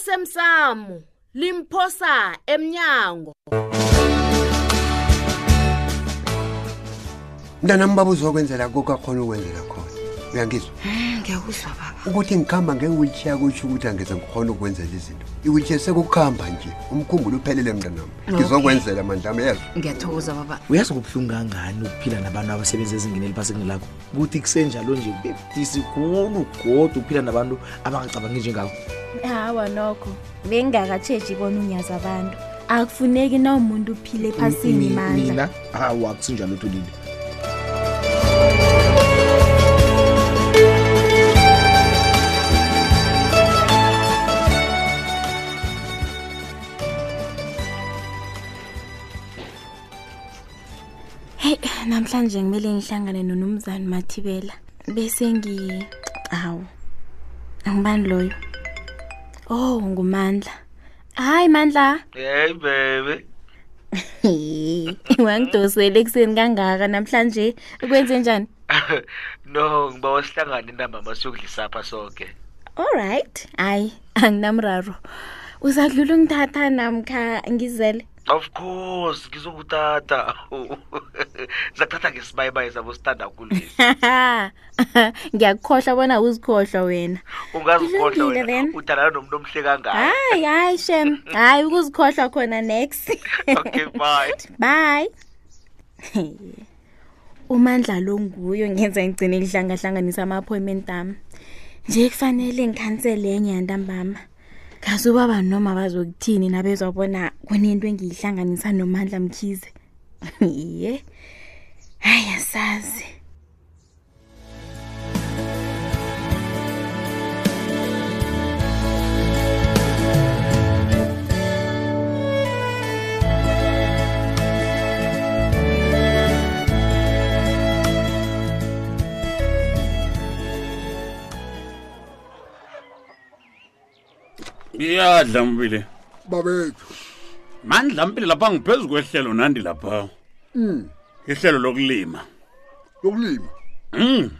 osemsamo limphosa emnyango mntanam ubaba uzokwenzela koko akhona ukwenzela khona uyangizwa ngiyakuzwa baba ukuthi ngihamba nge-wheelchair kutsho ukuthi angeze ngikhona ukukwenzela izinto i-wheelchair sekukuhamba nje umkhumbulo uphelele mntanam ngizokwenzela mandlami yezo ngiyathokoza baba uyazi kubuhlungu kangani ukuphila nabantu abasebenza ezingeni eliphasi kunelakho kuthi kusenjalo nje kubebudisi khulu godwa ukuphila nabantu abangacabangi njengakho hawa nokho bengingakatsheji bona unyaza abantu akufuneki na umuntu uphile ephasini Mi- mandla mina awa kusinjalo thulile heyi namhlanje kumele ngihlangane nonumzane mathibela bese ngi awu angibani loyo oh ngumandla hayi mandla Hey baby. He, wangidosele ekuseni kangaka namhlanje kwenze njani No, ngiba wasihlangane intamba masiyokudlisa apha sonke. allright hayi anginamraro uzadlula ungithatha namkha ngizele Of course, ngizokuthatha. Zakuthatha ngesibayibayi sabo sithanda kulesi. ngiyakukhohlwa bona uzikhohlwa wena Ungazikhohlwa Kulungile then. wena. Uthandana nomuntu omhle kangaka. hayi hayi shem hayi ukuzikhohlwa khona next Okay, bye. bye umandla lo nguyo ngenza ngigcine ngihlangahlanganisa ama-appointment ami nje kufanele ngikhansele enye yantambama kasi ubaba noma bazokuthini nabezwa bona kunento engiyihlanganisa nomandla mkhize ye hayi asazi iyadla mpile babethu mandla mpile lapha ngiphezu kwehlelo nandi lapha ihlelo lokulima lokulima Mm.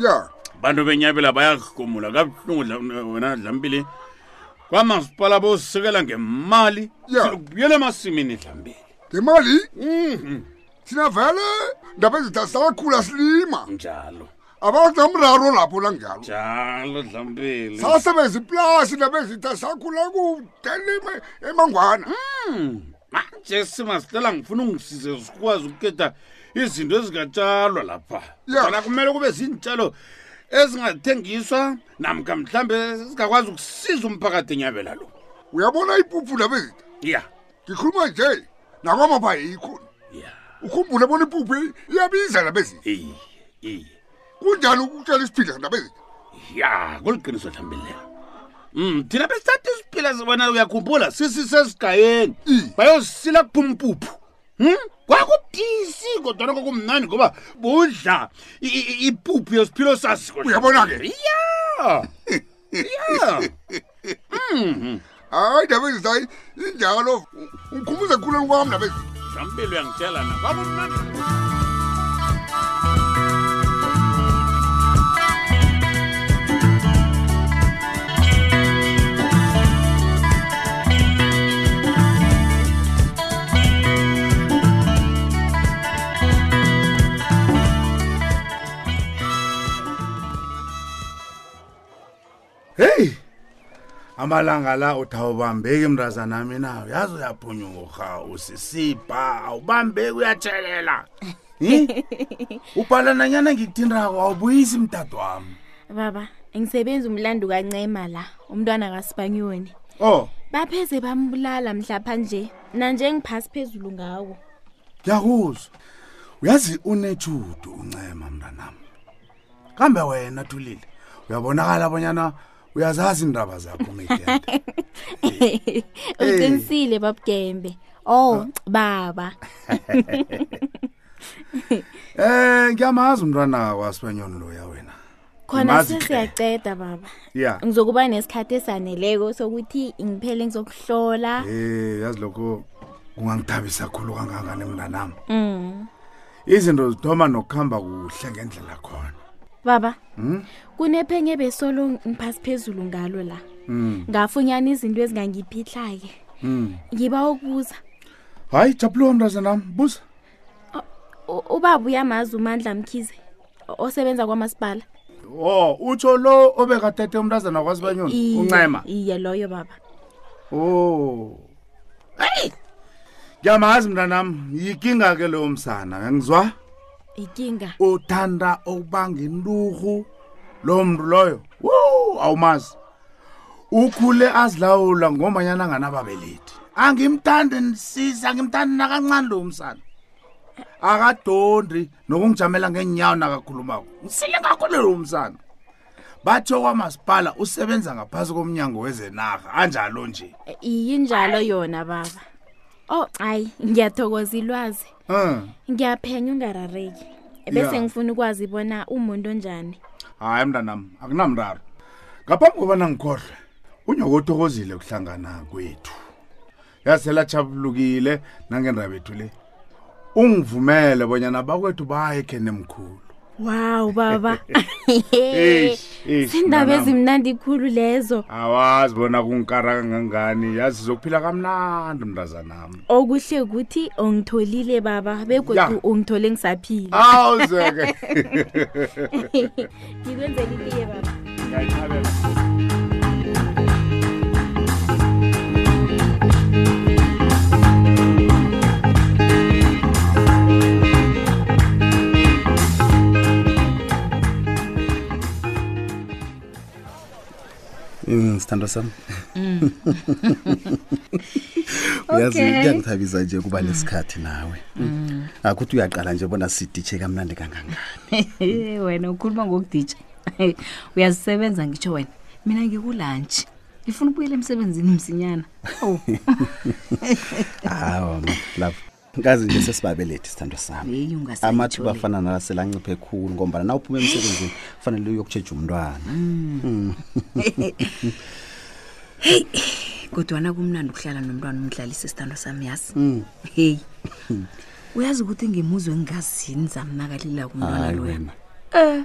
ya abantu benyabela bayagumula kabuhlungu dla- wena dlambile kwamasipala bosikela ngemali Ya. silokubuyela emasimini dlambile ngemali Mhm, thina vele ndaba ezitha sakhula silima njalo abazinamraro lapho lanjalo njalo dlambile sasebenza iplasi ndaba ezitha sakhula kudelime emangwana Mm, manje simasitela ngifuna ungisize sikwazi ukukhetha izinto ezikatshalwa lapha Ya. Kodwa kumele kube zintshalo ezingathengiswa namka mhlambe zingakwazi ukusiza umphakathi enyabela lo uyabona ipuphu ndaba ezitha ya ngikhuluma nje nakwamapha yikho ya ukhumbule bona ipuphu iyabiza ndaba ezitha iye iye kunjani ukutshela isiphidla ndaba ezitha ya koliqiniso dlambilelo um thina besithatha isiphila sibona uyakhumbula sisisesigayeni Mm. bayosisila kuphumpuphu um kwakubudisi kodwana kokumnani ngoba budla i- i- ipuphu yesiphilo sasiko Uyabona-ke? ya ya hayi ndaba ezitha injalo ungikhumbuze ekhuleni kwami ndaba ezitha dlambilo uyangitshela na kwabumnandi heyi amalanga la uthawubambeki mrazana mina uyazi uyaphunyurha usisibha awubambeki uyathelela ubhala nanyana ngikuthindako awubuyisi mdade wami baba ngisebenza umlando kancema la umntwana kasipanyoni o bapheze bambulala mhlapha nje nanje ngiphasi phezulu ngawo ngiyakuzwa uyazi unejudu uncema mntanami kambe wena thulile uyabonakala bonyana uyazazi iindaba zakho mide uqinisile babugembe oh baba um ngiyamazi umntwana kwasibanyoni loya wena khona Mazi hle. sesiyaceda baba ya ngizokuba nesikhathi esaneleko sokuthi ngiphele ngizokuhlola Eh yazi lokho kungangithabisa kakhulu kangangani mntanami. Mm. Izinto zidoma nokuhamba kuhle ngendlela khona. baba kunephenye ebesolo ngiphasi phezulu ngalo la ngafunyana izinto ezingangiphihla-ke ngiba ukubuza hayi jabuliwa mntazanam buza U- ubaba uyamazi umandla mkhize o- osebenza kwamasipala o utsho lo obekatete umntazana kwasibanyoni Iye, uncema iye loyo baba o heyi Oh. ngiyamazi mntanam yikinga ke leyo msana ngangizwa ikinga uthanda ukubanga inturhu loo mntu loyo wu awumazi ukhule azilawula ngomanyana anganababelethi angimthandi ndisisa angimthandi nakancane lo msana akadondi nokungijamela ngeenyawo nakakhulumako ngisile kakhulu lo msana batho kwamasipala usebenza ngaphasi komnyango wezenarha anjalo nje iyinjalo yona baba oh hayi ngiyathokoza ilwazi um ngiyaphenya ungarareki bese Yeah. ngifuna ukwazi bona umuntu onjani hayi mntanam akunamraro ngaphambi kobana ngikhohlwe unyokothokozile ukuhlangana kwethu yasela jabulukile nangendaba yethu le ungivumele bonyana bakwethu bayekhe nemkhulu waw baba Eish, eish, zindaba mntanami. ezimnandi khulu lezo awazi bona kungikara kangangani yazi sizokuphila kamnandi mntazanam okuhle ukuthi ongitholile baba begodu Ya. ungithole ngisaphila awuzeke ngikwenzela itiye baba ngiyayithabela Mm, sithando sami uyazi kuyangithabisa nje kuba nesikhathi nawe akuthi uyaqala nje bona siditshe kamnandi kangangani wena ukhuluma ngokuditsha uyazisebenza ngitsho wena mina ngikulantshi ngifuna ubuyela emsebenzini msinyana Awu. hawa ma love kazi nje sesibabelethi sithando sami Yeyi, ungasayitsho amathuba le. afana nala selanciphe khulu ngombana na uphuma emsebenzini kufanele uyokutsheja umntwana kodwana kumnandi ukuhlala nomntwana umdlalise isithando sami yazi heyi uyazi ukuthi ngimuzwe engingazini zamnakalila kumntwana hayi loyana wena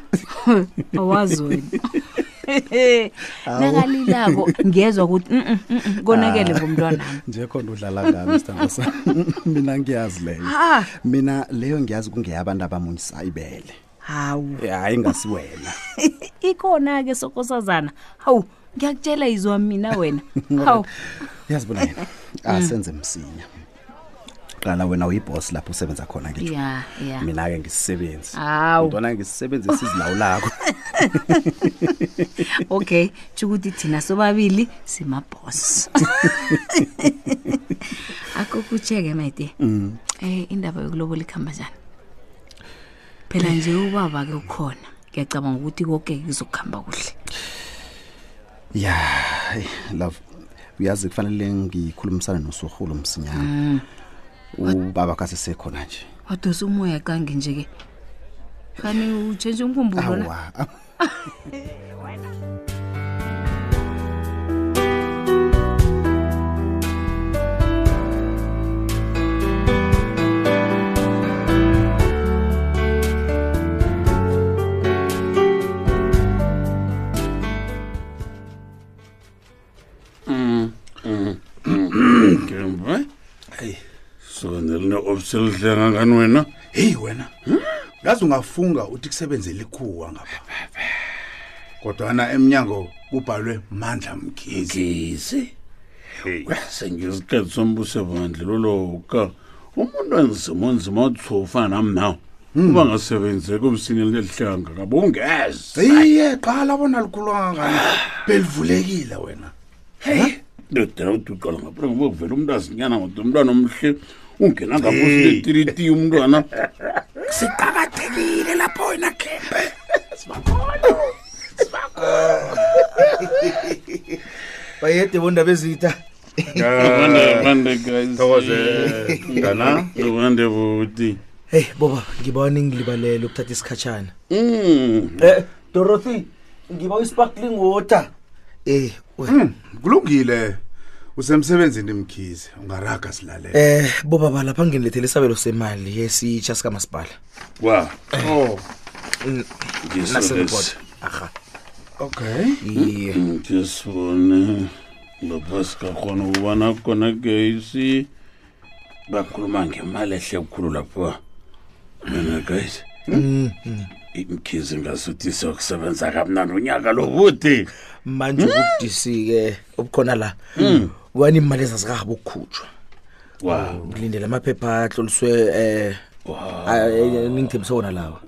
awazi wena nakalilako ngezwa ukuthi "Mm, mm, mm, mm, konakele ngomntwanami nje khona udlala ngami sithando sami mina ngiyazi leyo Ah. mina leyo ngiyazi kungeyabantu abamunyisa ibele hawu hayi ngasiwena ikhona-ke sokosazana hawu ngiyakutshela izwa mina wena hawu uyazibona yena Mm. asenze msinya qala wena uyibhosi lapho usebenza khona ngitsho ya ya mina-ke ngisisebenzi Hawu. mntwana ngisisebenzi esizilawulako okay tshukuthi thina sobabili simabhos akho kutsheke mate um indaba yokulobola ikuhamba njani phela nje ubaba-ke ukhona ngiyacabanga ukuthi konke kuzokuhamba kuhle ya hey, love uyazi kufanele ngikhulumisane nosurhulu msinyana Mm. ubaba kasesekhona nje wadosa umoya qange nje-ke kani utshentshe umkhumbulo na awa gembe so neline-opsi elihle kangani wena Hmm? heyi wena ngazi ungafunga uthi kusebenzela ikhuwa ngapha kodwana emnyango kubhalwe mandla mgizi gezi sengesikhathi sombuso bandle loloka umuntu anzima onzima othofa nam nawo uba ngasebenzi kobusini lelihlanga kabo ungeze iye qala bona likhulu kangangani Ah. belivulekile wena dodana uthi uqala ngaphambi ngoba kuvela umntu azinyana ngoda umntwana omhle ungena ngaphosuletiriti umntwana siqakathekile lapho wena kembe bayede bondaba ezitha Ah, thokoze mntana ubande buti heyi boba ngiba ningilibalele ukuthatha isikhatshana Mm. um dorothy ngiba i-sparkling water um um Mm, kulungile usemsebenzini mkhize ungaraga silalela eh, bobaba lapha nginilethele isabelo semali yesitsha sikamasipala wa oh Ngiso lesi. aha okay iye ngisibone lapha sikakhona ukubana Mm, khona gesi bakhuluma ngemali ehle kukhulu lapho mina guys Mm-hmm. imkhizi ngasuthi sokusebenza kamnandi unyaka lo buti manje ubudisi-ke obukhona la kwani imali ezazikahaba ukukhutshwa Oh. Wow. ngilindele amaphepha ahloliswe um ningithembise wona lawa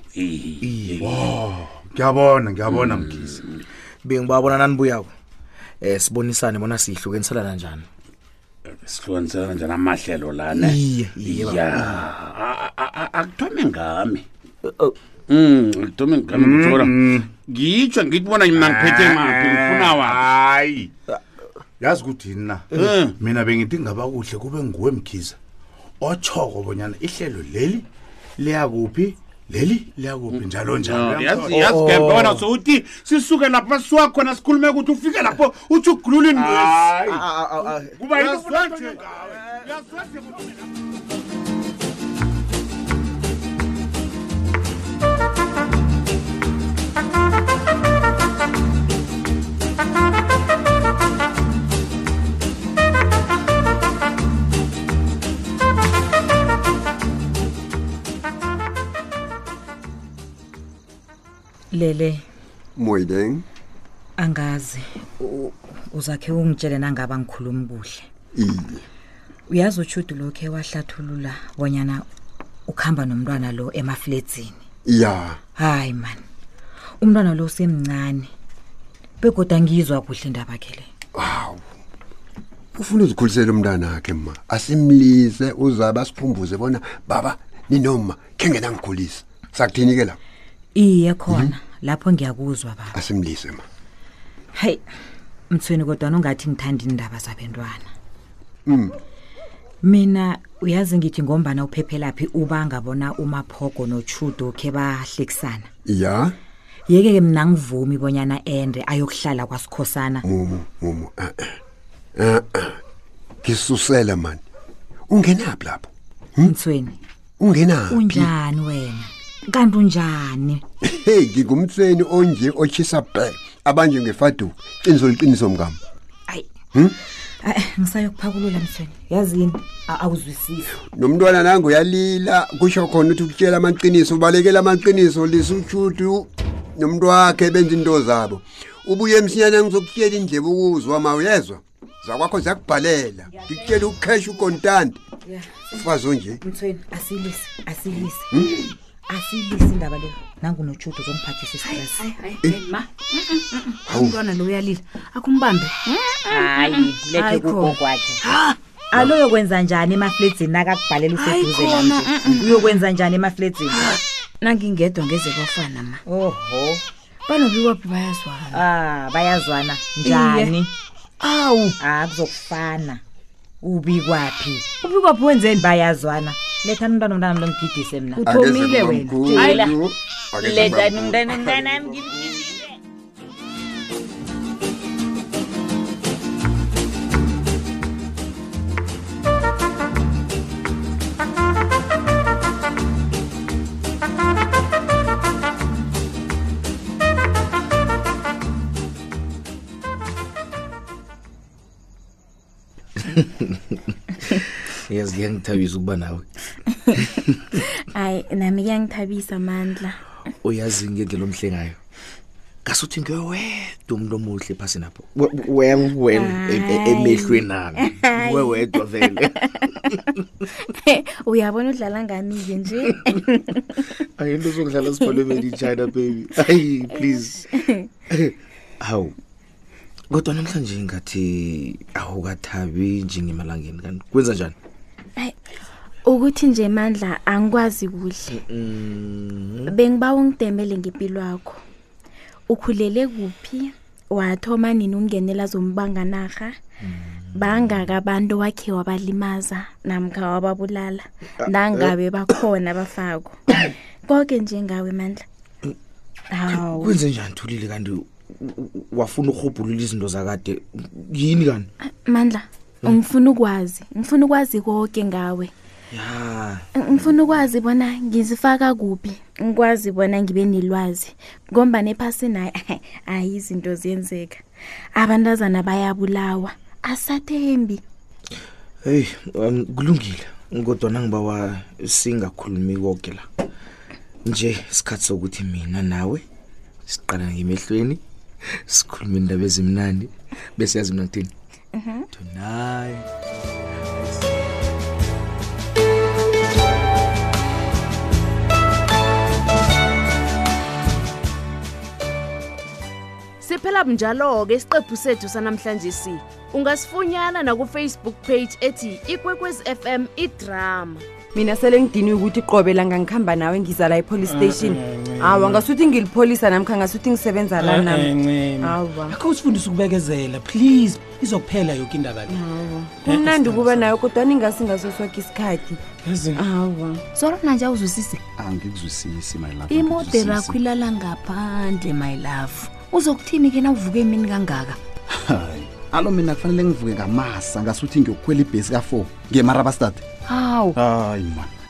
ngiyabona ngiyabona Hmm. mkhizi bengibabona nanibuyako um sibonisane bona siyihlukeniselana njani sihlukanisela kanjani amahlelo lana Iye, iye, baba. Uh, ya a- a- a- akuthome ngami Mm, akuthome ngami kuthora Mm, ngitsho ngithi bona mina ngiphethe maphi Eh, ngifuna waphi hayi yazi kuthini na Eh. mina bengidingaba kuhle kube nguwe mkhiza otshoko bonyana ihlelo leli liyakuphi leli liyakuphi njalo njalo yazi Oh, yazi gembe wena southi sisuke lapho sisuka khona sikhulume ukuthi ufike lapho uthi Ah, ugulula indwezi kuba yini ufuna nje lele moyileng angazi U- uzakhe ungitshele nangaba ngikhulumi kuhle iye uyazi utshudu lokhe wahlathulula bonyana ukuhamba nomntwana lo emafledzini ya hayi mani umntwana lo usemncane begoda ngizwa kuhle indaba khe le ufuna uzikhulisela umntana akhe ma asimlise uzaba sikhumbuze bona baba ninoma khe ngena ngikhulisa sakuthini ke la iye khona lapho ngiyakuzwa baba asimlise ma hayi mthweni kodwana ungathi ngithanda iindaba zabentwana Mm. mina uyazi ngithi ngombana uphephelaphi ubanga bona umaphogo notshudo khe bahlekisana ya yeke ke mna ngivumi bonyana ende ayokuhlala kwasikhosana mumu mumu eh eh eh ngisusela man ungenaphi lapho mthweni ungenaphi unjani wena kanti unjani hey ngingumtsweni onje ochisa bhe abanje ngefaduka qiniso liqiniso mngam Ayi. hm Ayi, ngisayokuphakulula mthweni yazini awuzwisisi nomntwana nangu uyalila kusho khona ukuthi ukutshela amaqiniso ubalekela amaqiniso lisuthudu nomntu wakhe benza into zabo ubuye emsinyane ngizokutshela indleba ukuzwa ma uyezwa zakwakho ziyakubhalela ngikutshela ukukhesha ukontante mfazi onje mthweni asilisi asilisi asilisi indaba leyo nangunotshudo uzomphathisa isitress ma Hawu. umntwana lo uyalila akumbambe hayi mlethe kukokwakhe aluyokwenza njani emafledzini akakubhalela useduze Hayi nanje khona, uyokwenza njani emafledzini nangingedwa ngeze kwafana ma oho banobiwaphi bayazwana ah bayazwana njani awu ah kuzokufana ubi kwaphi ubi kwaphi wenzeni bayazwana lethani umntwana umntana lomgidise mna Uthomile Angeze wena. kubamkhulu. Hayi la. Angeze lethani kubamkhulu. umntana mntanami ngimgidise yes ngiyangithabisa ukuba nawe hayi nami kuyangithabisa amandla uyazi ngendlela omhle ngayo ngasuthi ngiwe wedwa umuntu omuhle phasini apho We- well well em- em- Hayi. emehlweni ami Hayi. we wedwa vele uyabona udlala ngami-ke nje ayinto uzokudlala sibhalwe made in china baby ayi please hawu kodwa namhlanje ngathi awukathabi njengemalangeni kanti kwenza njani ukuthi nje mandla angikwazi kuhle bengiba ungidembele ngempilo yakho ukhulele kuphi wathoma nini ungenela zombanganarha bangaka abantu wakhe wabalimaza namkha wababulala nangabe bakhona bafako konke njengawe mandla hawu kwenze njani thulile kanti u- u- wafuna ukurhubhulula izinto zakade yini kanti mandla ngifuna ukwazi ngifuna ukwazi konke ngawe ya ngifuna ukwazi bona ngizifaka kuphi ngikwazi bona ngibe nelwazi ngombani ephasini hayi hayi izinto ziyenzeka abantazana bayabulawa asathembi heyi um, kulungile kodwana ngibawa singakhulumi koke la nje isikhathi sokuthi mina nawe siqala ngemehlweni sikhulume indaba ezimnandi bese yazi mna kuthini tonight siphela bunjalo-ke isiqephu sethu sanamhlanje si ungasifunyana nakufacebook page ethi ikwekwezi fm idrama mina sele ngidiniwe ukuthi qobe la ngangihamba nawe ngiza la e-police station awa ngasuthi ngilipholisa namkha ngasuthi ngisebenza la nami akho usifundise ukubekezela please izokuphela yoke indaba le kumnandi ukuba nayo kodwa ningasi ngaso soke isikhathi awa sorona nje awuzwisise angikuzwisisi my love imodere akho ilala ngaphandle my love uzokuthini ke na uvuke emini kangaka hayi alo mina kufanele ngivuke ngamasa ngasuthi ngiyokukhwela ibhesi ka-four ngiye marabastad hawu hayi mani